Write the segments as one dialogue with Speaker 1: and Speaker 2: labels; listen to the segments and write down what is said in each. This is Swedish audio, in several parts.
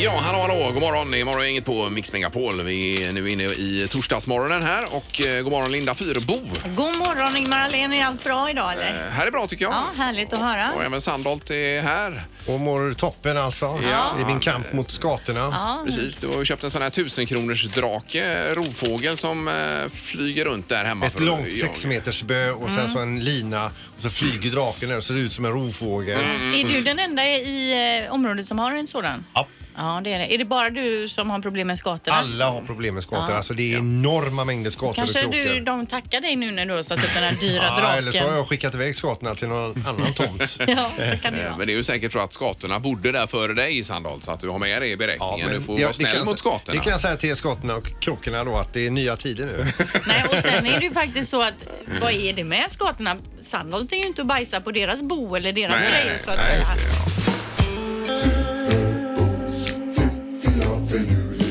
Speaker 1: Så, god morgon. Det är morgon, inget på Mix Megapol. Vi är nu inne i torsdagsmorgonen här och eh, god morgon Linda Fyrebo.
Speaker 2: God morgon Ingmar Ahlén, är allt bra idag eller?
Speaker 1: Eh, här är bra tycker jag.
Speaker 2: Ja, härligt att
Speaker 1: Och
Speaker 2: höra.
Speaker 1: även Sandholt är här.
Speaker 3: Och mår toppen alltså.
Speaker 1: Ja.
Speaker 3: I min kamp mot skatorna.
Speaker 2: Ja,
Speaker 1: Precis, du har ju köpt en sån här tusenkronors drake, rovfågel som eh, flyger runt där hemma.
Speaker 3: Ett
Speaker 1: för att
Speaker 3: långt
Speaker 1: jaga.
Speaker 3: sexmetersbö och
Speaker 1: Mm.
Speaker 3: sen så en lina. Och så flyger draken där och ser ut som en rovfågel.
Speaker 1: Mm.
Speaker 2: Är du den enda i eh, området som har en sådan?
Speaker 3: Ja.
Speaker 2: Ja, det är det. Är det bara du som har problem med skatorna?
Speaker 3: Alla har problem med skator. Alltså det är enorma mängder skator och
Speaker 2: Kanske
Speaker 3: kråkor.
Speaker 2: du, de tackar dig nu när du har satt upp den här dyra draken?
Speaker 3: ja, eller så har jag skickat iväg skatorna till någon annan tomt.
Speaker 2: Ja, så kan det
Speaker 1: Eh,
Speaker 2: vara.
Speaker 1: Men det är ju säkert så att skatorna bodde där före dig Sandholt så att du har med det i beräkningen. du får
Speaker 3: ja,
Speaker 1: vara
Speaker 3: det kan
Speaker 1: snäll
Speaker 3: jag
Speaker 1: mot
Speaker 3: sä-
Speaker 1: skatorna.
Speaker 3: Det kan jag säga till skatorna och kråkorna då att det är nya tider nu.
Speaker 2: Nej, och sen är det ju faktiskt så att vad är det med skatorna? Sandholt är ju inte att bajsa på deras bo eller deras
Speaker 1: Nej,
Speaker 2: grejer
Speaker 1: nej,
Speaker 2: så att
Speaker 1: nej,
Speaker 2: säga.
Speaker 1: just det,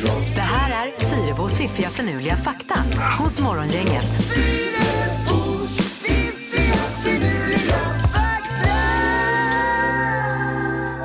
Speaker 1: ja.
Speaker 4: Det här är Fyrabos fiffiga förnuliga fakta hos Morgongänget.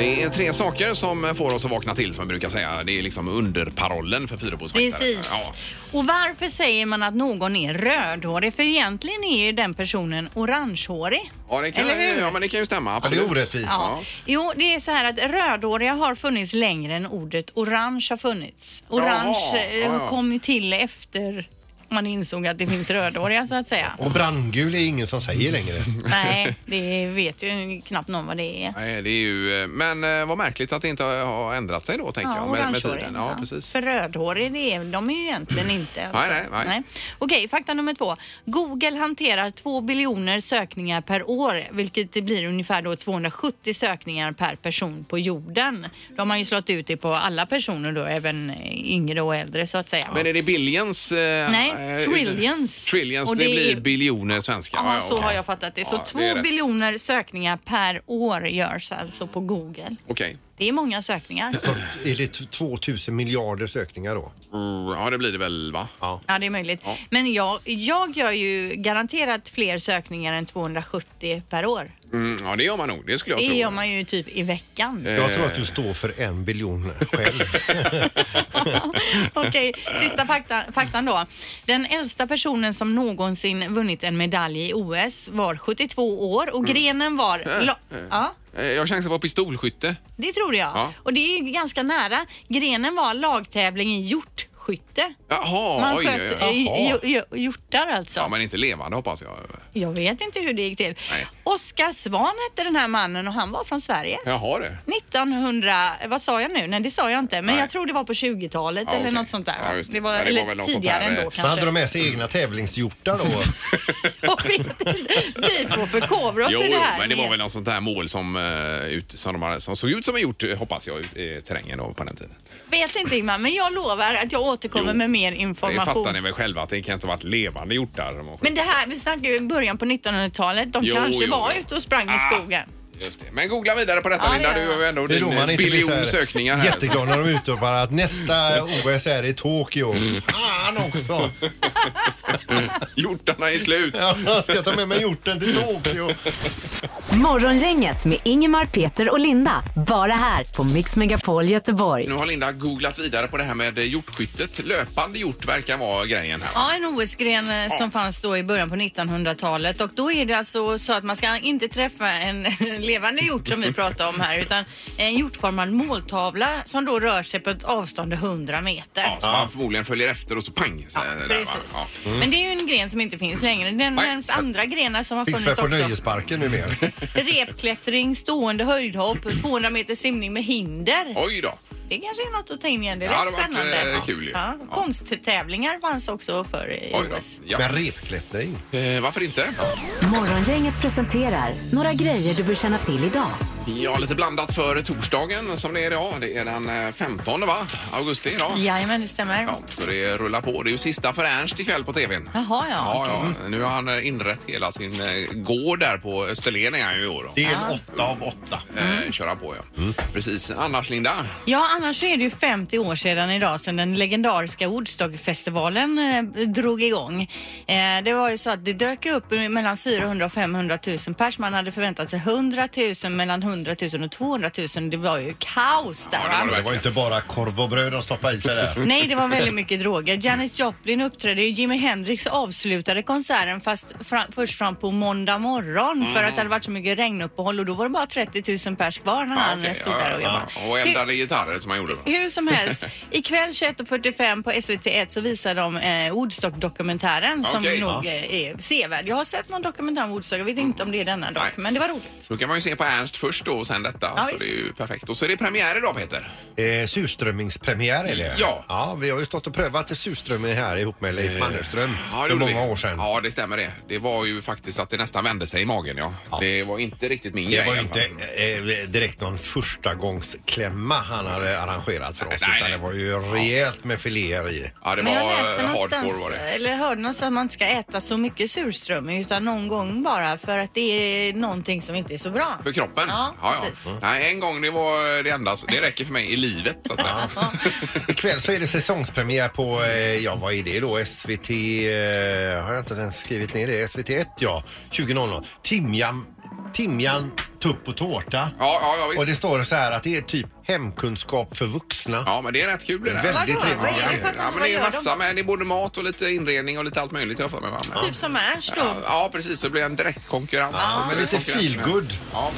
Speaker 1: Det är tre saker som får oss att vakna till som jag brukar säga. Det är liksom underparollen för Fyrebos fakta.
Speaker 2: Precis.
Speaker 1: Ja.
Speaker 2: Och varför säger man att någon är rödhårig? För egentligen är ju den personen orangehårig.
Speaker 1: Ja, det kan,
Speaker 2: Eller hur?
Speaker 1: ja, men det kan ju stämma.
Speaker 3: Ja, det
Speaker 1: Absolut.
Speaker 3: är orättvist.
Speaker 1: Ja.
Speaker 2: Jo, det är så här att rödhåriga har funnits längre än ordet orange har funnits. Orange
Speaker 1: Jaha,
Speaker 2: eh,
Speaker 1: ja, ja.
Speaker 2: kom ju till efter man insåg att det finns rödhåriga så att säga.
Speaker 3: Och brandgul är ingen som säger längre.
Speaker 2: Nej, det vet ju knappt någon vad det är.
Speaker 1: Nej, det är ju, men eh, vad märkligt att det inte har ändrat sig då, tänker jag. Med, med
Speaker 2: orangehårig,
Speaker 1: tiden. Ja,
Speaker 2: ja.
Speaker 1: precis. Mm.
Speaker 2: För rödhårig, det är, de är ju egentligen inte. alltså.
Speaker 1: nej, nej.
Speaker 2: Okej, fakta nummer två. Google hanterar 2 biljoner sökningar per år, vilket det blir ungefär då 270 sökningar per person på jorden. Då har man ju slått ut det på alla personer då, även yngre och äldre så att säga.
Speaker 1: Men är det billions? eh,
Speaker 2: Nej,
Speaker 1: eh,
Speaker 2: trillions.
Speaker 1: Trillions,
Speaker 2: Och
Speaker 1: det,
Speaker 2: det
Speaker 1: blir
Speaker 2: är-
Speaker 1: biljoner svenska.
Speaker 2: Ja,
Speaker 1: Ja,
Speaker 2: så
Speaker 1: okej.
Speaker 2: har jag fattat det. Så
Speaker 1: Ja,
Speaker 2: två
Speaker 1: är rätt.
Speaker 2: biljoner sökningar per år görs alltså på Google.
Speaker 1: Okej.
Speaker 2: Det är många sökningar.
Speaker 3: Är det t- 2000 miljarder sökningar då?
Speaker 1: Mm, Ja, det blir det väl, va?
Speaker 3: Ja.
Speaker 2: Ja, det är möjligt.
Speaker 1: Ja.
Speaker 2: Men jag, jag gör ju garanterat fler sökningar än 270 per år.
Speaker 1: Mm, ja, det gör man nog. Det Eh. skulle jag
Speaker 2: Det
Speaker 1: tro.
Speaker 2: gör man ju typ i veckan.
Speaker 3: Jag tror att du står för en biljon själv.
Speaker 2: Okej, sista fakta, faktan då. Den äldsta personen som någonsin vunnit en medalj i OS var 72 år och grenen var... lo- Ja,
Speaker 1: Mm. Eh, Jag chansar på pistolskytte.
Speaker 2: det trodde jag.
Speaker 1: Ja.
Speaker 2: Och det är ju ganska nära. Grenen var lagtävling i hjortskytte.
Speaker 1: Jaha,
Speaker 2: Man
Speaker 1: oj,
Speaker 2: sköt
Speaker 1: oj, oj.
Speaker 2: eh, hj- hj- hjortar alltså.
Speaker 1: Ja, men inte levande hoppas jag.
Speaker 2: Jag vet inte hur det gick till.
Speaker 1: Nej.
Speaker 2: Oskar Svan hette den här mannen och han var från Sverige.
Speaker 1: Jaha det.
Speaker 2: 1900, vad sa jag nu? Nej det sa jag inte, men
Speaker 1: Nej.
Speaker 2: jag tror det var på 20-talet
Speaker 1: Ja,
Speaker 2: eller
Speaker 1: okej.
Speaker 2: något sånt där.
Speaker 1: Ja,
Speaker 2: va?
Speaker 1: just det.
Speaker 2: det var,
Speaker 1: Ja, det var
Speaker 2: eller
Speaker 1: väl något sånt
Speaker 2: tidigare
Speaker 1: där, eh,
Speaker 2: ändå
Speaker 3: Men hade
Speaker 2: kanske.
Speaker 3: de med sig egna tävlingshjortar då?
Speaker 2: Jag vet inte. Vi får förkovra oss
Speaker 1: Jo,
Speaker 2: i det
Speaker 1: jo,
Speaker 2: här.
Speaker 1: men det var
Speaker 2: med-
Speaker 1: väl något sånt här mål som, eh, ut, som, de hade, som såg ut som en gjort, eh, hoppas jag, i eh, terrängen då på den tiden.
Speaker 2: Vet inte Ingmar, men jag lovar att jag återkommer
Speaker 1: Jo,
Speaker 2: med mer
Speaker 1: Det fattar
Speaker 2: information.
Speaker 1: ni väl själva att det kan inte ha varit levande hjortar. som har skjutit.
Speaker 2: men det här, vi snackar ju i början på 1900-talet. De
Speaker 1: Jo,
Speaker 2: kanske
Speaker 1: jo,
Speaker 2: var
Speaker 1: jo.
Speaker 2: ute och sprang i
Speaker 1: Ah.
Speaker 2: skogen.
Speaker 1: Just det. Men googla vidare på detta
Speaker 2: Ja, det
Speaker 1: Linda,
Speaker 2: gör
Speaker 1: du
Speaker 2: jag.
Speaker 1: har ju ändå
Speaker 3: Det är då man
Speaker 1: din eh,
Speaker 3: inte blir så
Speaker 1: biljon
Speaker 3: här
Speaker 1: sökningar här.
Speaker 3: jätteglad när de utropar att nästa OS är i Tokyo.
Speaker 1: Mm.
Speaker 3: Fan också!
Speaker 1: Hjortarna är slut.
Speaker 3: Jag ska ta med mig hjorten till Tokyo.
Speaker 4: Morgongänget med Ingemar, Peter och Linda. Bara här på Mix Megapol Göteborg.
Speaker 1: Nu har Linda googlat vidare på det här med eh, hjortskyttet. Löpande hjort verkar vara grejen här.
Speaker 2: Ja, en OS-gren eh, som fanns då i början på 1900-talet och då är det alltså så att man ska inte träffa en levande hjort som vi pratar om här utan en hjortformad måltavla som då rör sig på ett avstånd av 100 meter.
Speaker 1: Ja, som man förmodligen följer efter och så pang. Så
Speaker 2: Ja,
Speaker 1: där, va?
Speaker 2: precis.
Speaker 1: Ja. Mm.
Speaker 2: Men det är ju en gren som inte finns längre. Den
Speaker 1: Nej.
Speaker 2: nämns andra grenar som har
Speaker 3: Finns väl
Speaker 2: funnits
Speaker 3: på
Speaker 2: också.
Speaker 3: nöjesparken numera.
Speaker 2: Repklättring, stående höjdhopp, 200 meter simning med hinder.
Speaker 1: Oj då.
Speaker 2: Det kanske är något att ta in igen. Det är
Speaker 1: Ja,
Speaker 2: rätt
Speaker 1: det hade varit,
Speaker 2: spännande.
Speaker 1: eh, kul ju.
Speaker 2: ja.
Speaker 1: Ja.
Speaker 2: Konsttävlingar fanns också förr i
Speaker 1: Oj då.
Speaker 2: OS.
Speaker 1: Ja.
Speaker 3: Men repklättring.
Speaker 1: Eh, varför inte?
Speaker 4: Morgongänget presenterar några grejer du bör känna till idag.
Speaker 1: Ja, lite blandat för torsdagen som det är idag. Det är den eh, 15 va? augusti idag.
Speaker 2: Jajamän, det stämmer.
Speaker 1: Ja, så det rullar på. Det är ju sista för Ernst ikväll på tvn.
Speaker 2: Jaha, ja,
Speaker 1: ja, ja. Nu har han eh, inrett hela sin eh, gård där på Österlen är han ju i år. Då.
Speaker 3: Det är en åtta av åtta.
Speaker 1: Eh, kör han på ja. Precis. Annars Linda?
Speaker 2: Mm. Ja, annars så är det ju 50 år sedan idag sedan den legendariska Woodstockfestivalen eh, drog igång. Eh, det var ju så att det dök upp mellan 400 000 och 500 000 pers. Man hade förväntat sig 100 000, mellan 100 100 000 och 200 000. Det var ju kaos där. va?
Speaker 1: det
Speaker 3: Det var inte bara korv och bröd de stoppade i sig där.
Speaker 2: Nej, det var väldigt mycket droger. Janis Joplin uppträdde ju. Jimi Hendrix avslutade konserten fast fra- först fram på måndag morgon för
Speaker 1: Mm.
Speaker 2: att det hade varit så mycket regnuppehåll och då var det bara 30 000 pers kvar när
Speaker 1: Ja,
Speaker 2: han
Speaker 1: okej,
Speaker 2: stod
Speaker 1: ja,
Speaker 2: där och
Speaker 1: ja,
Speaker 2: jobbade.
Speaker 1: ja. Och eldade gitarrer som han gjorde. då.
Speaker 2: Hur, hur som helst, ikväll 21.45 på SVT1 så visar de eh, Woodstock-dokumentären som
Speaker 1: Okej,
Speaker 2: nog eh, är sevärd. Jag har sett någon dokumentär om Woodstock, jag vet inte om det är denna dock,
Speaker 1: Mm. Nej.
Speaker 2: men det var roligt.
Speaker 1: Då kan man ju se på Ernst först då och sen detta.
Speaker 2: Ja,
Speaker 1: så
Speaker 2: visst.
Speaker 1: det är ju perfekt. Och så är det premiär idag Peter.
Speaker 3: Eh, surströmmingspremiär eller?
Speaker 1: Ja.
Speaker 3: Ja, vi har ju stått och prövat surströmming här ihop med Leif Mannerström för
Speaker 1: gjorde
Speaker 3: många
Speaker 1: vi.
Speaker 3: år sedan.
Speaker 1: Ja, det stämmer det. Det var ju faktiskt att det nästan vände sig i magen ja. Det var inte riktigt min
Speaker 3: Det
Speaker 1: grej.
Speaker 3: var ju
Speaker 1: i alla
Speaker 3: inte
Speaker 1: fall.
Speaker 3: eh, direkt någon förstagångsklämma han hade arrangerat för oss
Speaker 1: Nej,
Speaker 3: utan
Speaker 1: nej.
Speaker 3: det var ju rejält med filéer i.
Speaker 1: Ja, det
Speaker 2: Men jag
Speaker 1: var
Speaker 2: läste
Speaker 1: eh,
Speaker 2: någonstans,
Speaker 1: hardcore var det.
Speaker 2: eller hörde någonstans att man inte ska äta så mycket surströmming utan någon gång bara för att det är någonting som inte är så bra.
Speaker 1: För kroppen?
Speaker 2: Ja, precis.
Speaker 3: Mm.
Speaker 1: ja. Nej, en gång det var eh, det enda. Det räcker för mig i livet så att säga.
Speaker 3: Ikväll så är det säsongspremiär på, eh, ja vad är det då, SVT, eh, har jag inte ens skrivit ner det, SVT1 ja, 20.00. Timjan, timjan, tupp och tårta.
Speaker 1: Ja, ja, ja
Speaker 3: Och det
Speaker 1: visst.
Speaker 3: står så här att det är typ hemkunskap för vuxna.
Speaker 1: Ja, men det är rätt kul det där.
Speaker 3: Väldigt
Speaker 2: Vadå? Vad
Speaker 3: trevligt.
Speaker 2: är det för-
Speaker 1: Ja, men
Speaker 2: Vad
Speaker 1: det är
Speaker 2: gör
Speaker 1: massa
Speaker 2: de?
Speaker 1: med. Det är både mat och lite inredning och lite allt möjligt jag för mig. Va? Men-
Speaker 2: Typ som Ernst då.
Speaker 1: Ja, ja, precis. Det blir en direkt konkurrent.
Speaker 3: Ja, men lite feel good.
Speaker 1: Ja.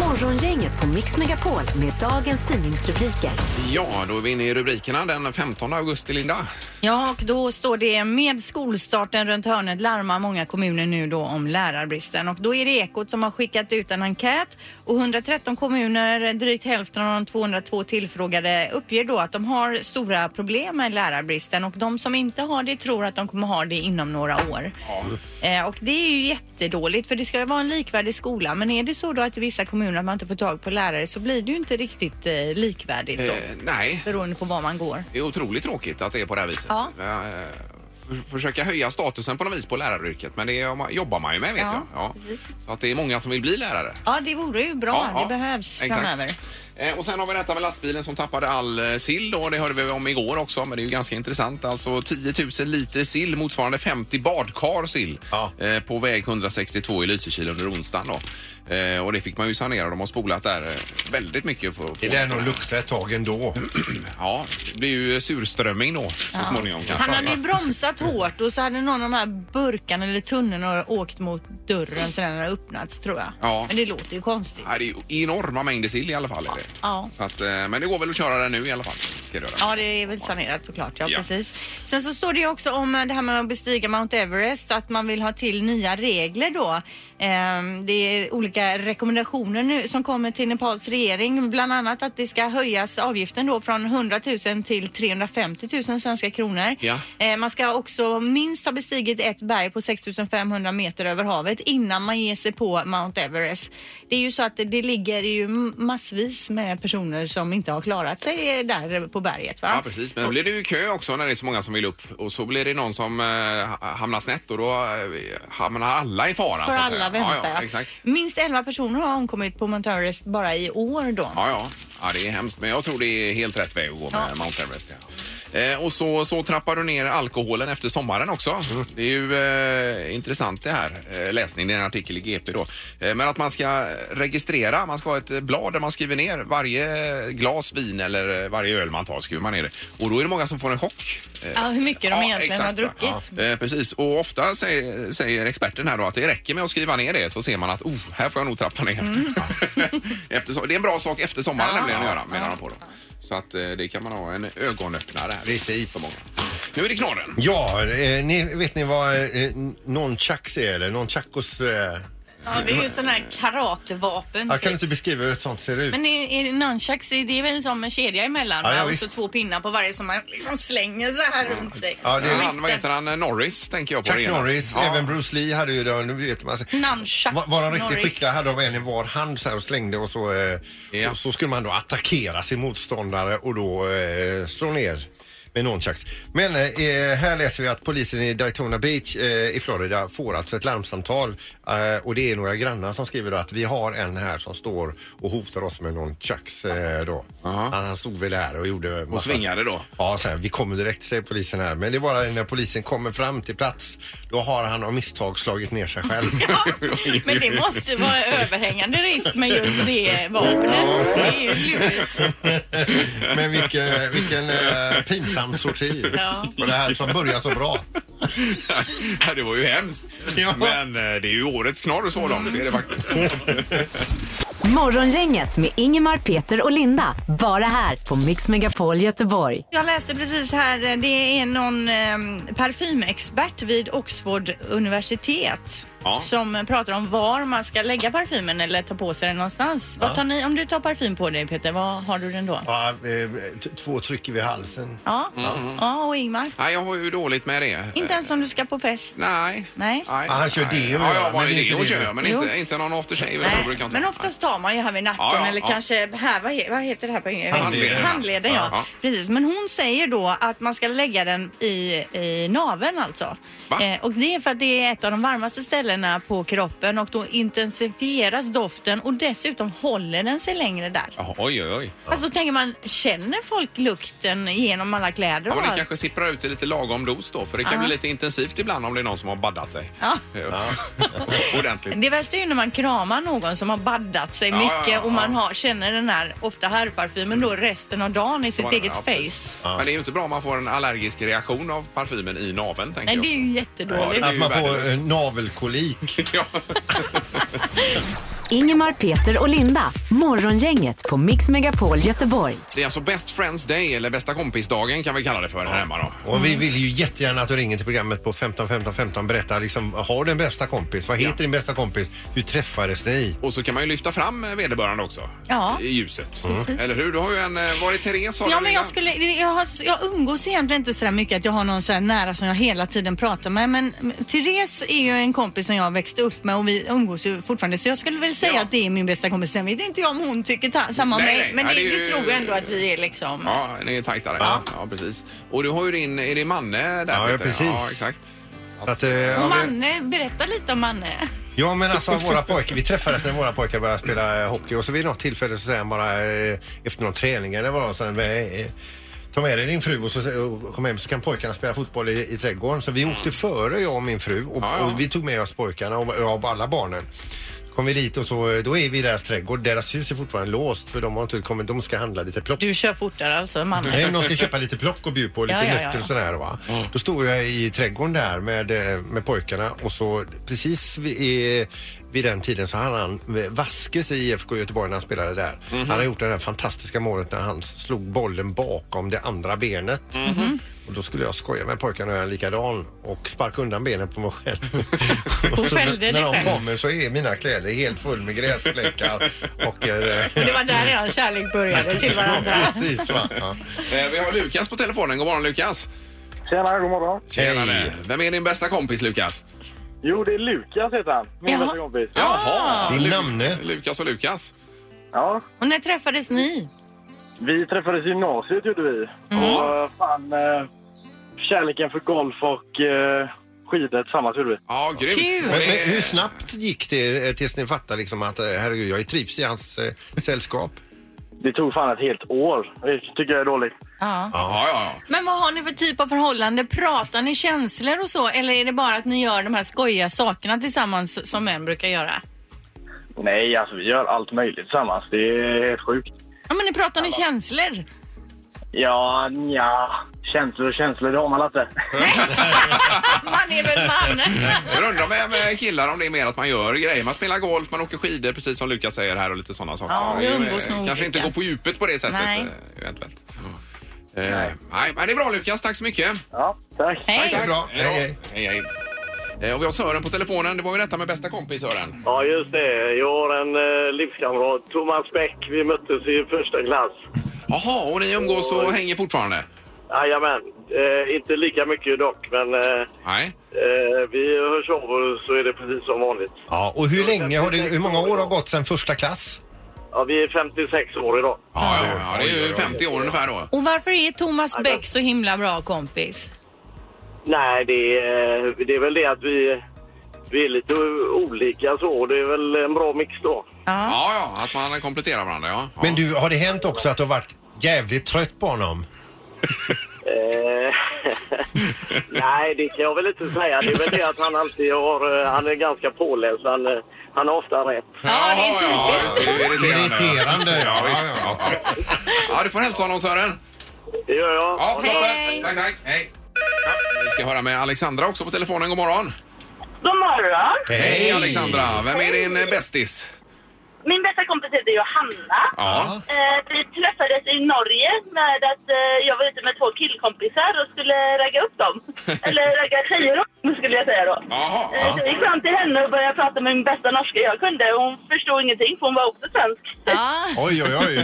Speaker 4: Morgongänget på Mix Megapol med dagens tidningsrubriker.
Speaker 1: ja, då är vi inne i rubrikerna den 15 augusti, Linda.
Speaker 2: Ja, och då står det med skolstarten runt hörnet larmar många kommuner nu då om lärarbristen och då är det Ekot som har skickat ut en enkät och 113 kommuner, drygt hälften av de 202 tillfrågade uppger då att de har stora problem med lärarbristen och de som inte har det tror att de kommer ha det inom några år. Eh, Och det är ju jättedåligt för det ska ju vara en likvärdig skola men är det så då att i vissa kommuner att man inte får tag på lärare så blir det ju inte riktigt eh, likvärdigt då
Speaker 1: Eh, nej,
Speaker 2: beroende på var man går.
Speaker 1: det är otroligt tråkigt att det är på det här viset.
Speaker 2: Ja.
Speaker 1: Eh, för- Försöka höja statusen på något vis på läraryrket, men det är- jobbar man ju med vet
Speaker 2: Ja,
Speaker 1: jag. Ja.
Speaker 2: precis.
Speaker 1: Så att det är många som vill bli lärare.
Speaker 2: Ja, det vore ju bra. det behövs
Speaker 1: exakt.
Speaker 2: framöver.
Speaker 1: Eh, Och sen har vi detta med lastbilen som tappade all eh, sill då. Det hörde vi om igår också, men det är ju ganska intressant. Alltså 10 000 liter sill motsvarande 50 badkar sill
Speaker 3: Ja.
Speaker 1: eh, på väg 162 i Lysekil under onsdagen då. Eh, Och det fick man ju sanera. De har spolat där eh, väldigt mycket. För,
Speaker 3: Det
Speaker 1: för,
Speaker 3: lär nog lukta ett tag ändå.
Speaker 1: Mm. Ja, det blir ju surströmming då så småningom kanske.
Speaker 2: Han hade ju bromsat hårt och så hade någon av de här burkarna eller tunnorna åkt mot dörren så den hade öppnats tror jag.
Speaker 1: Ja.
Speaker 2: Men det låter ju konstigt.
Speaker 1: Ja, det är ju enorma mängder sill i alla fall. Är det.
Speaker 2: Ja.
Speaker 1: Så att, eh, men det går väl att köra den nu i alla fall. Ska det göra.
Speaker 2: Ja, det är väl sanerat såklart. Ja,
Speaker 1: Ja.
Speaker 2: precis. Sen så står det ju också om eh, det här med att bestiga Mount Everest, att man vill ha till nya regler då. Ehm, Det är olika rekommendationer nu som kommer till Nepals regering, bland annat att det ska höjas avgiften då från 100 000 till 350 000 svenska kronor.
Speaker 1: Ja.
Speaker 2: Eh, Man ska också minst ha bestigit ett berg på 6 500 meter över havet innan man ger sig på Mount Everest. Det är ju så att det- det ligger ju massvis med personer som inte har klarat sig där på berget. Va?
Speaker 1: Ja, precis. Men då blir det ju kö också när det är så många som vill upp. Och så blir det någon som eh, ha- hamnar snett och då eh, hamnar alla i fara.
Speaker 2: För
Speaker 1: så att
Speaker 2: alla
Speaker 1: säga.
Speaker 2: väntar.
Speaker 1: Ja, ja, exakt.
Speaker 2: Minst 11 personer har omkommit på Mount Everest bara i år då.
Speaker 1: Ja, ja. ja, det är hemskt. Men jag tror det är helt rätt väg att gå med
Speaker 2: Ja.
Speaker 1: Mount Everest. Ja. Eh, och så, så trappar du ner alkoholen efter sommaren också. Det är ju eh, intressant det här. Eh, läsning, det är en artikel i GP då. Eh, men att man ska registrera, man ska ha ett eh, blad där man skriver ner varje glas vin eller eh, varje öl man tar skriver man ner det. Och då är det många som får en chock. Eh,
Speaker 2: Ja, hur mycket de egentligen har druckit.
Speaker 1: va. Eh, precis, och ofta säger, säger experten här då att det räcker med att skriva ner det så ser man att oh, här får jag nog trappa ner.
Speaker 2: Mm.
Speaker 1: efter, so- det är en bra sak efter sommaren nämligen att göra menar de på då. Så att eh, det kan man ha en ögonöppnare här.
Speaker 3: Precis.
Speaker 1: För många. Nu är det knorren.
Speaker 3: Ja, eh, ni, vet ni vad eh, nonchax är eller nonchakos? Eh,
Speaker 2: Ja, det är ju sådana här karatevapen.
Speaker 3: jag kan inte beskriva hur ett sånt ser ut.
Speaker 2: Men är, är det nunchucks, är det är väl som en kedja emellan
Speaker 3: Ja, ja,
Speaker 2: va? och
Speaker 3: visst.
Speaker 2: så två pinnar på varje som man liksom slänger så här runt sig.
Speaker 3: Ja, det är-
Speaker 1: Eh, han, vad heter han? Norris tänker jag på.
Speaker 3: Chuck
Speaker 1: det ena.
Speaker 3: Norris,
Speaker 1: Ja.
Speaker 3: även Bruce Lee hade ju det. Nu vet man.
Speaker 2: Nunchucks
Speaker 3: Var, var de riktigt
Speaker 2: Norris.
Speaker 3: skickliga hade de en i var hand så här och slängde och så, eh,
Speaker 1: Ja.
Speaker 3: och så skulle man då attackera sin motståndare och då eh, slå ner med nunchucks. Men eh, här läser vi att polisen i Daytona Beach eh, i Florida får alltså ett larmsamtal eh, och det är några grannar som skriver då att vi har en här som står och hotar oss med nunchucks eh, då.
Speaker 1: Aha.
Speaker 3: Han, han stod väl där och gjorde...
Speaker 1: Och
Speaker 3: massa-
Speaker 1: svingade då.
Speaker 3: Ja, så här, vi kommer direkt säger polisen här. Men det är bara när polisen kommer fram till plats. Då har han av misstag slagit ner sig själv.
Speaker 2: Men det måste vara överhängande risk med just det vapnet. Det är ju lurigt.
Speaker 3: Men vilken, vilken eh, pinsam sorti.
Speaker 2: Ja.
Speaker 3: Och det här som börjar så bra.
Speaker 1: Ja, det var ju hemskt.
Speaker 3: Ja.
Speaker 1: Men eh, det är ju årets knorr så långt. Det är det faktiskt.
Speaker 4: Morgongänget med Ingemar, Peter och Linda. Bara här på Mix Megapol Göteborg.
Speaker 2: Jag läste precis här, eh, det är någon eh, parfymexpert vid Oxford universitet
Speaker 1: Ja.
Speaker 2: som eh, pratar om var man ska lägga parfymen eller ta på sig den någonstans. Vad tar ni, om du tar parfym på dig Peter, vad har du den då? Ja,
Speaker 3: Ja, eh, t- två tryck vid halsen.
Speaker 2: ja. och Ingmar?
Speaker 1: Nej, jag har ju dåligt med det.
Speaker 2: Inte ens om du ska på fest?
Speaker 1: Nej.
Speaker 2: Nej.
Speaker 1: Nej.
Speaker 3: Ah, han kör
Speaker 1: Nej.
Speaker 3: deo,
Speaker 1: Ja,
Speaker 3: ja,
Speaker 1: ja,
Speaker 3: men
Speaker 1: men det
Speaker 3: inte
Speaker 1: deo
Speaker 3: det.
Speaker 1: kör jag. Men
Speaker 2: Jo.
Speaker 1: inte, inte någon aftershave. så brukar jag inte-
Speaker 2: men oftast tar man ju här vid nacken
Speaker 1: Ja, ja,
Speaker 2: eller
Speaker 1: ja.
Speaker 2: kanske här, vad, he- vad heter det här på engelska?
Speaker 1: Handleden.
Speaker 2: Handleden ja.
Speaker 1: Ja.
Speaker 2: Precis, men hon säger då att man ska lägga den i, i naveln alltså.
Speaker 1: Va?
Speaker 2: Eh, och det är för att det är ett av de varmaste ställena på kroppen och då intensifieras doften och dessutom håller den sig längre där.
Speaker 1: Jaha, Oj, oj, oj.
Speaker 2: Alltså då tänker man, känner folk lukten genom alla kläder
Speaker 1: Ja,
Speaker 2: och
Speaker 1: men det
Speaker 2: allt?
Speaker 1: kanske sipprar ut i lite lagom dos då, för det kan
Speaker 2: Ja.
Speaker 1: bli lite intensivt ibland om det är någon som har baddat sig.
Speaker 2: Ja.
Speaker 1: Ordentligt.
Speaker 2: Det värsta är ju när man kramar någon som har baddat sig
Speaker 1: Ja,
Speaker 2: mycket
Speaker 1: ja, ja,
Speaker 2: och man
Speaker 1: ja. Mm.
Speaker 2: har, känner den här, ofta herrparfymen då, resten av dagen i sitt eget
Speaker 1: Ja, precis.
Speaker 2: face.
Speaker 1: Men det är ju inte bra om man får en allergisk reaktion av parfymen i naveln,
Speaker 2: Nej,
Speaker 1: tänker
Speaker 2: det är
Speaker 1: jag.
Speaker 2: ju
Speaker 1: Ja, det
Speaker 2: jättedåligt.
Speaker 1: är
Speaker 3: Att
Speaker 1: ju
Speaker 3: man får
Speaker 1: värdelöst.
Speaker 3: eh, navelkolik.
Speaker 1: Ja.
Speaker 4: Ingemar, Peter och Linda. Morgongänget på Mix Megapol Göteborg.
Speaker 1: Det är alltså Best Friends Day, eller Bästa kompisdagen kan vi kalla det för här hemma då. Mm.
Speaker 3: Och vi vill ju jättegärna att du ringer till programmet på 15 15 15 berätta liksom, har du en bästa kompis? Vad heter din bästa kompis? Hur träffades ni?
Speaker 1: Och så kan man ju lyfta fram eh, vederbörande också
Speaker 2: Ja.
Speaker 1: i ljuset. Eller hur? Du har ju en... eh, Var det Therese? har
Speaker 2: Ja,
Speaker 1: du
Speaker 2: men
Speaker 1: innan?
Speaker 2: jag, skulle, jag, har, jag umgås egentligen inte så där mycket att jag har någon så här nära som jag hela tiden pratar med. Men Therese är ju en kompis som jag växte upp med och vi umgås ju fortfarande. Så jag skulle väl säga
Speaker 1: Ja.
Speaker 2: att det är min bästa kompis. Sen vet inte jag om hon tycker ta, samma om
Speaker 1: Nej,
Speaker 2: mig.
Speaker 1: nej.
Speaker 2: Men
Speaker 1: Ja,
Speaker 2: det,
Speaker 1: det är
Speaker 2: du
Speaker 1: ju-
Speaker 2: tror ändå att vi är liksom...
Speaker 1: Ja, ni är tajtare. Ja. ja, precis. Och du har ju din... Är det Manne där?
Speaker 3: Ja,
Speaker 1: Peter?
Speaker 3: precis.
Speaker 1: Ja, exakt.
Speaker 3: Så att, eh, ja, men,
Speaker 2: Manne, berätta lite om Manne.
Speaker 3: ja men alltså våra pojkar, vi träffades när våra pojkar började spela eh, hockey och så vid något tillfälle så säger han bara eh, efter någon träning eller vad det var, så här, eh, eh, Ta med dig din fru och, så, och kom hem så kan pojkarna spela fotboll i, i trädgården. Så vi åkte före jag och min fru och,
Speaker 1: Ja, ja.
Speaker 3: och vi tog med oss pojkarna och, och alla barnen. Kom vi dit och så, eh, då är vi i deras trädgård. Deras hus är fortfarande låst för de har inte kommit. De ska handla lite plock.
Speaker 2: Du kör fortare alltså, Manne.
Speaker 3: Nej, men de ska köpa lite plock och bjuda på lite
Speaker 2: Ja, ja, ja,
Speaker 3: nötter
Speaker 2: ja.
Speaker 3: och sådär va. Då står jag i trädgården där med, eh, med pojkarna och så precis vid, eh, vid den tiden så hade han eh, Vaskes i IFK Göteborg när han spelade där.
Speaker 2: Mhm.
Speaker 3: Han har gjort det där fantastiska målet när han slog bollen bakom det andra benet.
Speaker 2: Mhm.
Speaker 3: Och då skulle jag skoja med pojkarna och göra likadan och sparka undan benen på mig själv.
Speaker 2: Och fällde dig
Speaker 3: när de
Speaker 2: själv.
Speaker 3: kommer så är mina kläder helt full med gräsfläckar. Och, eh,
Speaker 2: Och det var där redan kärlek började till varandra.
Speaker 3: Ja, precis, va? Ja.
Speaker 1: Eh, Vi har Lukas på telefonen. God morgon, Lukas.
Speaker 5: Tjena, god morgon.
Speaker 1: Tjenare. Vem är din bästa kompis, Lukas?
Speaker 5: Jo, det är Lukas heter han. Min
Speaker 2: Jaha.
Speaker 5: bästa kompis.
Speaker 2: Ah!
Speaker 1: Jaha!
Speaker 3: Din
Speaker 1: Lu-
Speaker 3: namne?
Speaker 1: Lukas och Lukas.
Speaker 5: Ja,
Speaker 2: Och när träffades ni?
Speaker 5: vi träffades i gymnasiet gjorde vi. Och eh, fan, eh, kärleken för golf och eh, skidor tillsammans gjorde vi.
Speaker 1: Ja, grymt.
Speaker 2: Kul.
Speaker 1: Och
Speaker 3: Men,
Speaker 1: det-
Speaker 3: men hur snabbt gick det eh, tills ni fattade liksom att eh, herregud, jag är trivs i hans eh, sällskap?
Speaker 5: Det tog fan ett helt år. Det tycker jag är dåligt.
Speaker 2: Ja.
Speaker 1: Ja, ja, ja.
Speaker 2: Men vad har ni för typ av förhållande? Pratar ni känslor och så eller är det bara att ni gör de här skojiga sakerna tillsammans som män brukar göra?
Speaker 5: Nej, alltså vi gör allt möjligt tillsammans. Det är helt sjukt.
Speaker 2: Ja men ni pratar ni känslor?
Speaker 5: Ja, ja. Känslor och känslor, det har man inte.
Speaker 2: Man är väl man?
Speaker 1: Jag undrar med, med killar om det är mer att man gör grejer. Man spelar golf, man åker skidor precis som Lukas säger här och lite sådana saker.
Speaker 2: Ja, vi
Speaker 1: Eh,
Speaker 2: umgås nog olika.
Speaker 1: Kanske inte går på djupet på det sättet.
Speaker 2: Nej.
Speaker 1: eh, Eventuellt. Eh, nej, men det är bra Lukas. Tack så mycket.
Speaker 5: Ja, tack.
Speaker 2: Hej.
Speaker 3: Det är bra. Hej,
Speaker 1: Hej,
Speaker 3: hej.
Speaker 1: hej. Eh, Och vi har Sören på telefonen. Det var ju detta med bästa kompis Sören.
Speaker 6: Ja, just det. Jag har en eh, livskamrat, Thomas Bäck. Vi möttes i första klass.
Speaker 1: Jaha, och ni umgås och hänger fortfarande?
Speaker 6: Jajamän. Eh, inte lika mycket dock, men eh,
Speaker 1: Nej.
Speaker 6: eh, vi hörs av och så är det precis som vanligt.
Speaker 3: Ja, och hur länge har det, hur många år har gått sedan första klass?
Speaker 6: Ja, vi är 56 år idag.
Speaker 1: Ja, ja, ja, det är ju 50 år ungefär då.
Speaker 2: Och varför är Thomas Bäck så himla bra kompis?
Speaker 6: Nej, det är, det är väl det att vi, vi är lite olika så. Det är väl en bra mix då.
Speaker 2: Ja.
Speaker 1: Ja, ja, att man kompletterar varandra, ja. ja.
Speaker 3: Men du, har det hänt också att du har varit jävligt trött på honom?
Speaker 6: Eh, Nej, det kan jag väl inte säga. Det är väl det att han alltid har... eh, Han är ganska påläst. Han, eh, han har ofta rätt.
Speaker 2: Ja, det är
Speaker 1: Jaha, ja,
Speaker 2: typiskt.
Speaker 1: just det, det är
Speaker 3: Irriterande,
Speaker 1: Ja,
Speaker 3: ja,
Speaker 1: visst.
Speaker 3: ja.
Speaker 1: Ja, ja. ja, du får hälsa honom, Sören.
Speaker 6: Det gör jag.
Speaker 1: Ja,
Speaker 2: Hej.
Speaker 1: toppen. Tack, tack. Hej. Ja, Vi ska höra med Alexandra också på telefonen. God morgon.
Speaker 7: God morgon!
Speaker 1: Hej, Alexandra. Vem är din eh, bästis?
Speaker 7: Min bästa kompis heter Johanna.
Speaker 1: Ja.
Speaker 7: Eh, vi träffades i Norge med att eh, jag var ute med två killkompisar och skulle ragga upp dem. Eller ragga tjejer upp dem skulle jag säga då.
Speaker 1: Jaha.
Speaker 7: Eh, så jag gick fram till henne och började prata med min bästa norska jag kunde. Hon förstod ingenting för hon var också svensk.
Speaker 2: Ja.
Speaker 3: Oj, oj, oj.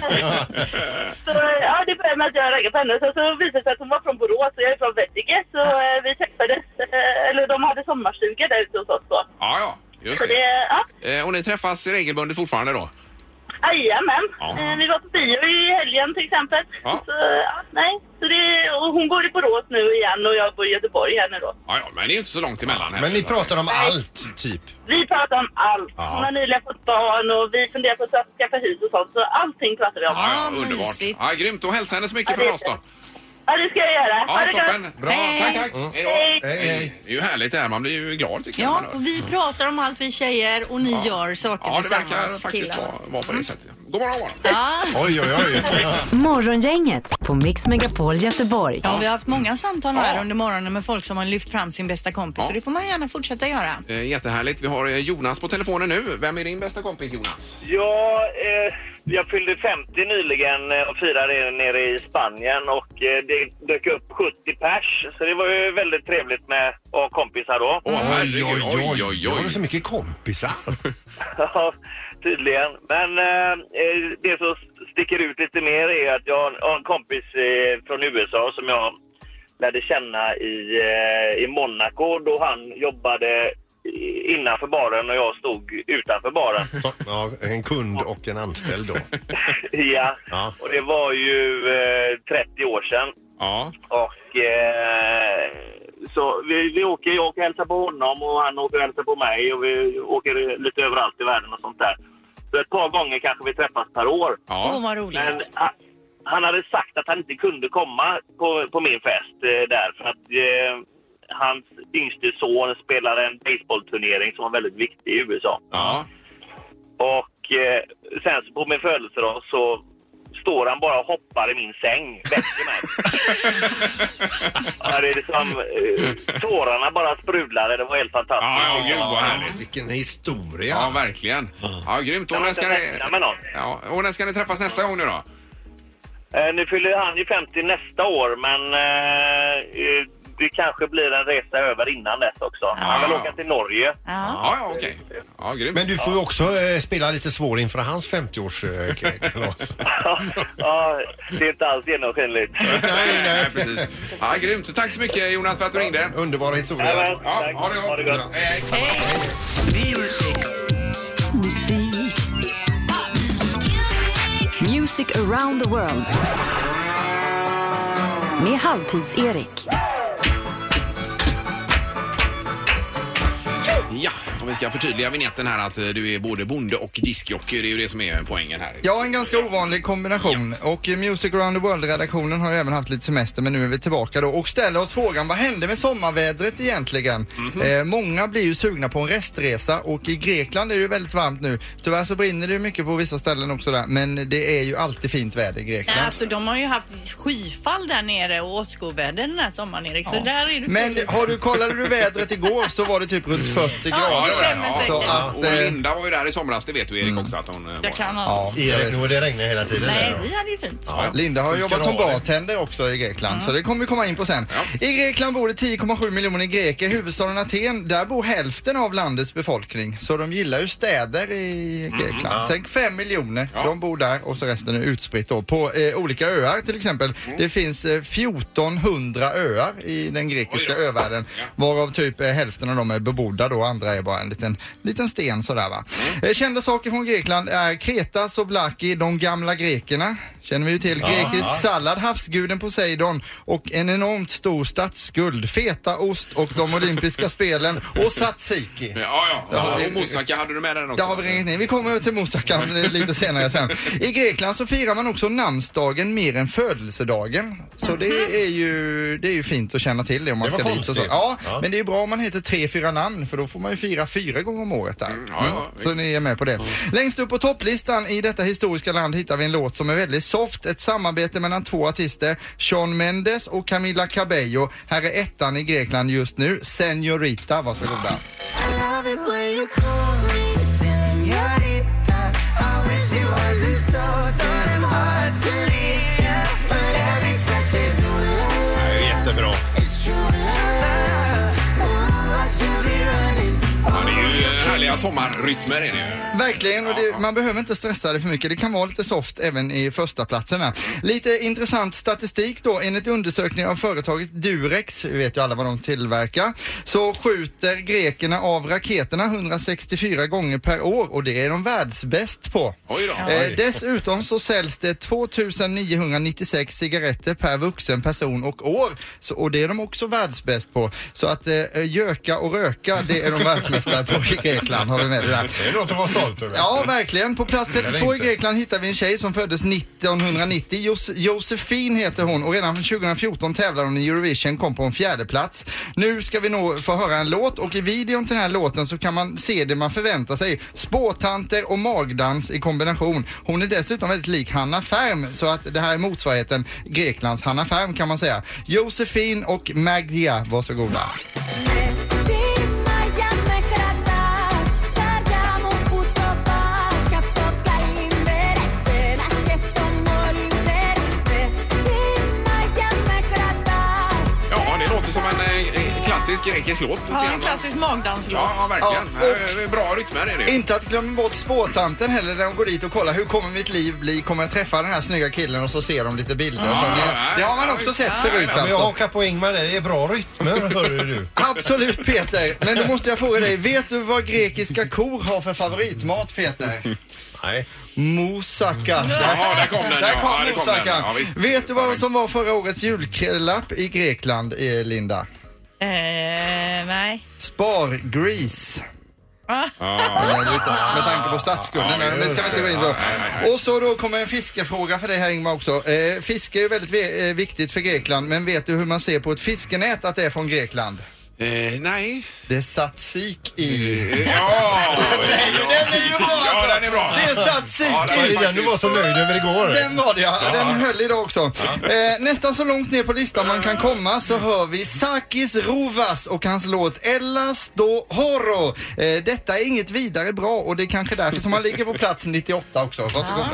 Speaker 7: Så eh, ja, det började med att jag raggade på henne. Sen så visade det sig att hon var från Borås och jag är från Vettige. Så eh, vi träffades, eh, eller de hade sommarstuga där ute hos oss då.
Speaker 1: Ja, ja. Just
Speaker 7: Så det,
Speaker 1: det.
Speaker 7: ja.
Speaker 1: Eh, Och ni träffas regelbundet fortfarande då?
Speaker 7: Ah, Jajamän.
Speaker 1: Ja.
Speaker 7: Eh, Vi var på bio i helgen till exempel.
Speaker 1: Ja.
Speaker 7: Så, ja, nej. Så det, och hon går i Borås nu igen och jag bor i Göteborg här nu då.
Speaker 1: Ja, ja, men det är ju inte så långt emellan. heller.
Speaker 3: Men ni pratar om allt, typ.
Speaker 7: Vi pratar om allt.
Speaker 3: Ja.
Speaker 7: Hon har nyligen fått barn och vi funderar på att skaffa hus och sånt. Så allting pratar vi om. Ja,
Speaker 1: Ja, ja,
Speaker 2: Ja,
Speaker 1: underbart.
Speaker 2: mysigt.
Speaker 1: Ja, grymt. Och hälsa henne så mycket
Speaker 7: Ja, det-
Speaker 1: från oss då.
Speaker 7: det ska jag göra.
Speaker 1: Ja,
Speaker 7: det
Speaker 1: toppen. Bra. Tack,
Speaker 2: Hej.
Speaker 1: tack.
Speaker 3: Mm.
Speaker 1: Hej då.
Speaker 7: Hej.
Speaker 3: Hej, hej.
Speaker 1: Det är ju härligt det här. Man blir ju glad tycker jag.
Speaker 2: Ja,
Speaker 1: när man hör.
Speaker 2: och vi pratar om allt vi tjejer och ni gör saker
Speaker 1: Ja, det verkar
Speaker 2: tillsammans
Speaker 1: faktiskt
Speaker 2: killar.
Speaker 1: vara vara på det sättet. God morgon, god morgon.
Speaker 2: Ja.
Speaker 3: Oj, oj, oj.
Speaker 4: Morgongänget på Mix Megapol Göteborg.
Speaker 2: Ja, vi har haft många samtal här
Speaker 1: Ja.
Speaker 2: under morgonen med folk som har lyft fram sin bästa kompis
Speaker 1: Ja.
Speaker 2: och det får man gärna fortsätta göra.
Speaker 1: Eh, Jättehärligt. Vi har eh, Jonas på telefonen nu. Vem är din bästa kompis, Jonas?
Speaker 6: Ja, eh, jag fyllde 50 nyligen eh, och firade det nere i Spanien och eh, det dök upp 70 pers. Så det var ju väldigt trevligt med att ha kompisar då.
Speaker 1: Åh, herregud. Oj, oj,
Speaker 3: Har du så
Speaker 1: oj.
Speaker 3: mycket kompisar?
Speaker 6: Ja, Tydligen. Men eh, det som sticker ut lite mer är att jag har en- har en kompis eh, från USA som jag lärde känna i, eh, i Monaco då han jobbade i- innanför baren och jag stod utanför baren.
Speaker 3: Ja, en kund och en anställd då.
Speaker 6: ja.
Speaker 3: Ja.
Speaker 6: Och det var ju eh, 30 år sedan.
Speaker 1: Ja.
Speaker 6: Och eh, så vi, vi åker, jag åker och hälsar på honom och han åker och hälsar på mig och vi åker lite överallt i världen och sånt där. Så ett par gånger kanske vi träffas per år.
Speaker 2: Åh,
Speaker 1: Ja.
Speaker 2: vad roligt.
Speaker 6: Men han, han hade sagt att han inte kunde komma på, på min fest eh, där för att eh, hans yngste son spelar en baseballturnering som var väldigt viktig i USA.
Speaker 1: Ja.
Speaker 6: Och eh, sen så på min födelsedag så står han bara och hoppar i min säng, väcker mig. ja, det är liksom, eh, tårarna bara sprudlade, det var helt fantastiskt.
Speaker 1: Ja, ja, gud vad härligt.
Speaker 3: Vilken historia.
Speaker 1: Ja, verkligen. Ja, grymt. Och
Speaker 6: Jag har
Speaker 1: när
Speaker 6: inte
Speaker 1: ska ni...
Speaker 6: räknat med någon.
Speaker 1: Ja, och när ska ni träffas nästa gång nu då?
Speaker 6: Eh, nu fyller han ju 50 nästa år, men eh, eh, det kanske blir en resa över innan dess också. Han vill åka till Norge.
Speaker 2: Ja.
Speaker 1: Ja, ja, okej. Ja, grymt.
Speaker 3: Men du får ju också eh, spela lite svår inför hans eh, 50-årskalas.
Speaker 6: ja, det är inte alls genomskinligt.
Speaker 1: Nej, nej, precis. Ja, grymt. Tack så mycket Jonas för att du ringde.
Speaker 3: Underbara
Speaker 6: Jajamän,
Speaker 3: historia.
Speaker 1: Ja,
Speaker 6: tack.
Speaker 1: ha det gott.
Speaker 6: Ha det gott.
Speaker 1: Hej, hej.
Speaker 4: Music around the world. Med Halvtids-Erik.
Speaker 1: Ja, och vi ska förtydliga vignetten här att eh, du är både bonde och diskjockey. Det är ju det som är poängen här.
Speaker 8: Ja, en ganska ovanlig kombination. Och eh, Music around the world-redaktionen har ju även haft lite semester men nu är vi tillbaka då och ställer oss frågan vad hände med sommarvädret egentligen? eh, många blir ju sugna på en restresa och i Grekland är det ju väldigt varmt nu. Tyvärr så brinner det ju mycket på vissa ställen också där men det är ju alltid fint väder i Grekland.
Speaker 2: Alltså de har ju haft skyfall där nere och åskoväder den här sommaren Erik. Så där är det
Speaker 8: Men har du, kollade du vädret igår så var det typ runt 40
Speaker 2: Ja,
Speaker 8: grader.
Speaker 2: det stämmer
Speaker 1: Ja,
Speaker 8: så
Speaker 2: säkert.
Speaker 8: att,
Speaker 1: Och
Speaker 8: eh, Mm.
Speaker 1: Linda var ju där i somras, det vet du Erik också att hon eh, var.
Speaker 2: Jag kan ha...
Speaker 8: ja, jag vet.
Speaker 3: Erik, nu det regnar hela tiden.
Speaker 2: Nej,
Speaker 3: där då.
Speaker 2: vi hade ju fint.
Speaker 1: Ja, ja.
Speaker 8: Linda har
Speaker 3: Hur ska
Speaker 8: jobbat
Speaker 3: du
Speaker 8: som
Speaker 3: ha det? Mm.
Speaker 8: bartender också i Grekland, så det kommer vi komma in på sen. I Grekland bor det 10,7 miljoner greker. Huvudstaden Aten, där bor hälften av landets befolkning. Så de gillar ju städer i
Speaker 3: Mm.
Speaker 8: Grekland. Tänk 5 miljoner,
Speaker 1: Ja.
Speaker 8: de bor där och så resten är utspritt då på eh, olika öar till exempel.
Speaker 3: Mm.
Speaker 8: Det finns eh, 1400 öar i den grekiska
Speaker 1: Oj då.
Speaker 8: övärlden, varav typ eh, hälften av dem är bebodda då, andra är bara en liten, liten sten sådär va. Eh, Kända saker från Grekland är Kreta, Souvlaki, de gamla grekerna. Känner vi ju till. Grekisk sallad, havsguden Poseidon och en enormt stor statsskuld. Fetaost och de olympiska spelen och tzatziki.
Speaker 1: Ja, ja. Och Moussaka, hade du med den också?
Speaker 8: Där har vi ringt ner. Vi kommer till Moussaka lite senare sen. I Grekland så firar man också namnsdagen mer än födelsedagen. Så det är ju, det är ju fint att känna till det om man
Speaker 3: Det var
Speaker 8: ska dit och så.
Speaker 3: konstigt.
Speaker 8: Ja,
Speaker 3: Ja.
Speaker 8: men det är ju bra om man heter tre, fyra namn för då får man ju fira fyra gånger om året där.
Speaker 1: ja, ja,
Speaker 8: Mm, så ni är med på det. Längst upp på topplistan i detta historiska land hittar vi en låt som är väldigt soft. Ett samarbete mellan två artister, Sean Mendes och Camila Cabello. Här är ettan i Grekland just nu, Senorita. Varsågoda.
Speaker 3: Det är jättebra.
Speaker 1: Ja, det är ju härliga sommarrytmer är det ju.
Speaker 8: Verkligen, och det, man behöver inte stressa det för mycket. Det kan vara lite soft även i första platserna. Lite intressant statistik då. Enligt undersökning av företaget Durex, vi vet ju alla vad de tillverkar, så skjuter grekerna av raketerna 164 gånger per år och det är de världsbäst på.
Speaker 1: Oj då.
Speaker 8: Eh, dessutom så säljs det 2996 cigaretter per vuxen person och år. Så, och det är de också världsbäst på. Så att eh, göka och röka, det är de världsmästare på i Grekland. Har vi med det där?
Speaker 3: Det är något att vara stolt över.
Speaker 8: Ja, verkligen. På plats
Speaker 3: Eller
Speaker 8: 32 i
Speaker 3: inte.
Speaker 8: Grekland hittar vi en tjej som föddes 1990. Jos Josefin heter hon och redan 2014 tävlade hon i Eurovision, kom på en fjärde plats. Nu ska vi nog få höra en låt och i videon till den här låten så kan man se det man förväntar sig. Spåtanter och magdans i kombination. Hon är dessutom väldigt lik Hanna Färm så att det här är motsvarigheten Greklands Hanna Färm kan man säga. Josefin och Magdia, varsågoda.
Speaker 1: Ja, det låter som en eh, klassisk grekisk låt. lite
Speaker 2: Ja,
Speaker 1: grann,
Speaker 2: en
Speaker 1: va?
Speaker 2: klassisk magdanslåt.
Speaker 1: Ja, ja, verkligen.
Speaker 8: Ja,
Speaker 1: Här är Bra rytmer är det ju.
Speaker 8: Inte att glömma bort spåtanten heller när de går dit och kollar hur kommer mitt liv bli? Kommer jag träffa den här snygga killen och så ser de lite bilder och så.
Speaker 1: Ja,
Speaker 8: Det,
Speaker 1: ja,
Speaker 8: det har man
Speaker 1: ja,
Speaker 8: också
Speaker 1: ja,
Speaker 8: sett
Speaker 1: ja,
Speaker 8: förut
Speaker 3: Men
Speaker 1: ja,
Speaker 3: jag
Speaker 8: alltså.
Speaker 3: hakar på Ingmar där. Det är bra rytmer, hörru du.
Speaker 8: Absolut Peter, men då måste jag fråga dig. Vet du vad grekiska kor har för favoritmat Peter?
Speaker 3: Nej.
Speaker 8: Moussaka.
Speaker 1: Jaha, där kom
Speaker 8: Där kom
Speaker 1: den. ja. Ja, där kom den.
Speaker 8: moussaka.
Speaker 1: Ja, visst.
Speaker 8: Vet du vad som var förra årets julklapp i Grekland, eh, Linda?
Speaker 2: Eh, nej.
Speaker 8: Spargris.
Speaker 1: Ja,
Speaker 8: Ja, lite, med tanke på statsskulden.
Speaker 1: Ah. Ja,
Speaker 8: Ja, det ska vi inte gå in på. Och så då kommer en fiskefråga för dig här Ingmar också. Eh, fiske är ju väldigt ve- eh, viktigt för Grekland, men vet du hur man ser på ett fiskenät att det är från Grekland?
Speaker 1: Eh, nej.
Speaker 8: Det satt sik i.
Speaker 1: Ja! Den
Speaker 8: är ju bra,
Speaker 1: Ja,
Speaker 8: alltså.
Speaker 1: den är bra.
Speaker 8: Det satt sik
Speaker 1: Ja, det var
Speaker 8: i.
Speaker 1: ju
Speaker 3: Det är den du var så nöjd över igår.
Speaker 8: Den var det ja. Den höll idag också. Eh, nästan så långt ner på listan man kan komma så hör vi Sakis Rovas och hans låt Ellas do Horro. Eh, detta är inget vidare bra och det är kanske därför som han ligger på plats 98 också. Varsågoda.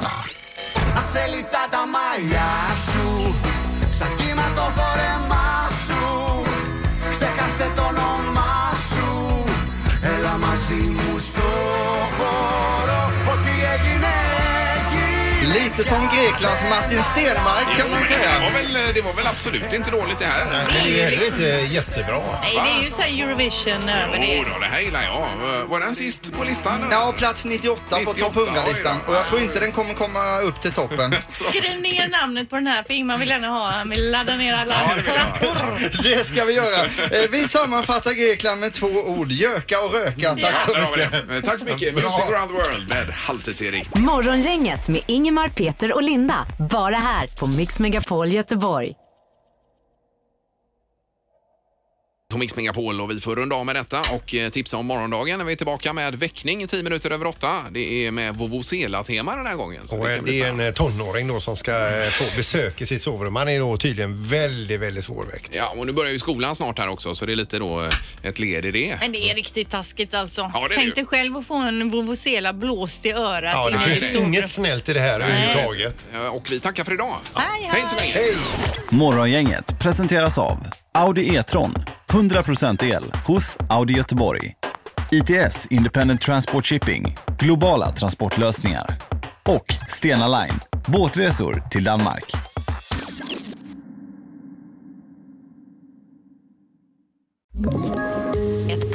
Speaker 8: Lite som Greklands Martin Stenmark kan man
Speaker 1: Det var
Speaker 8: säga.
Speaker 1: väl, det var väl absolut inte dåligt det här.
Speaker 3: Men det är heller inte jättebra.
Speaker 2: nej, det är ju så här Eurovision över det.
Speaker 1: Jo då, det här gillar jag. Eh, Var den sist på listan? eller?
Speaker 8: Ja, plats 98 på
Speaker 1: 98,
Speaker 8: topp 100-listan
Speaker 1: oj då.
Speaker 8: och jag tror inte den kommer komma upp till toppen.
Speaker 2: Skriv ner namnet på den här för Ingmar vill gärna ha. Han vill ladda ner alla
Speaker 1: Ja, det vill jag.
Speaker 8: Det ska vi göra. Eh, Vi sammanfattar Grekland med två ord, göka och röka. Tack så
Speaker 1: Ja, där har vi
Speaker 8: mycket.
Speaker 1: det. Eh, Tack så mycket. Music around the world med Halvtids-Erik.
Speaker 4: Morgongänget med Ingemar, Peter och Linda. Bara här på Mix Megapol Göteborg.
Speaker 1: på Mix Megapol och vi får runda av med detta och eh, tipsa om morgondagen när vi är tillbaka med väckning 10 minuter över åtta. Det är med vovvozela-tema den här gången. Så
Speaker 3: Och
Speaker 1: det kan bli
Speaker 3: det är en
Speaker 1: spännande.
Speaker 3: eh, tonåring då som ska eh, få besök i sitt sovrum. Han är då tydligen väldigt, väldigt svårväckt.
Speaker 1: Ja, och nu börjar ju skolan snart här också så det är lite då eh, ett led i det.
Speaker 2: Men det är riktigt taskigt alltså.
Speaker 1: Ja, det är det ju.
Speaker 2: Tänk dig själv att få en vuvuzela blåst i örat.
Speaker 3: Ja, det
Speaker 2: inne i
Speaker 3: finns
Speaker 2: ditt sovrum.
Speaker 3: inget snällt i det här överhuvudtaget.
Speaker 1: Eh, Och vi tackar för idag.
Speaker 2: Hej,
Speaker 1: Hej så länge.
Speaker 9: Morgongänget presenteras av Audi E-tron. 100% el hos Audi Göteborg. ITS Independent Transport Shipping. Globala transportlösningar. Och Stena Line. Båtresor till Danmark.
Speaker 4: Ett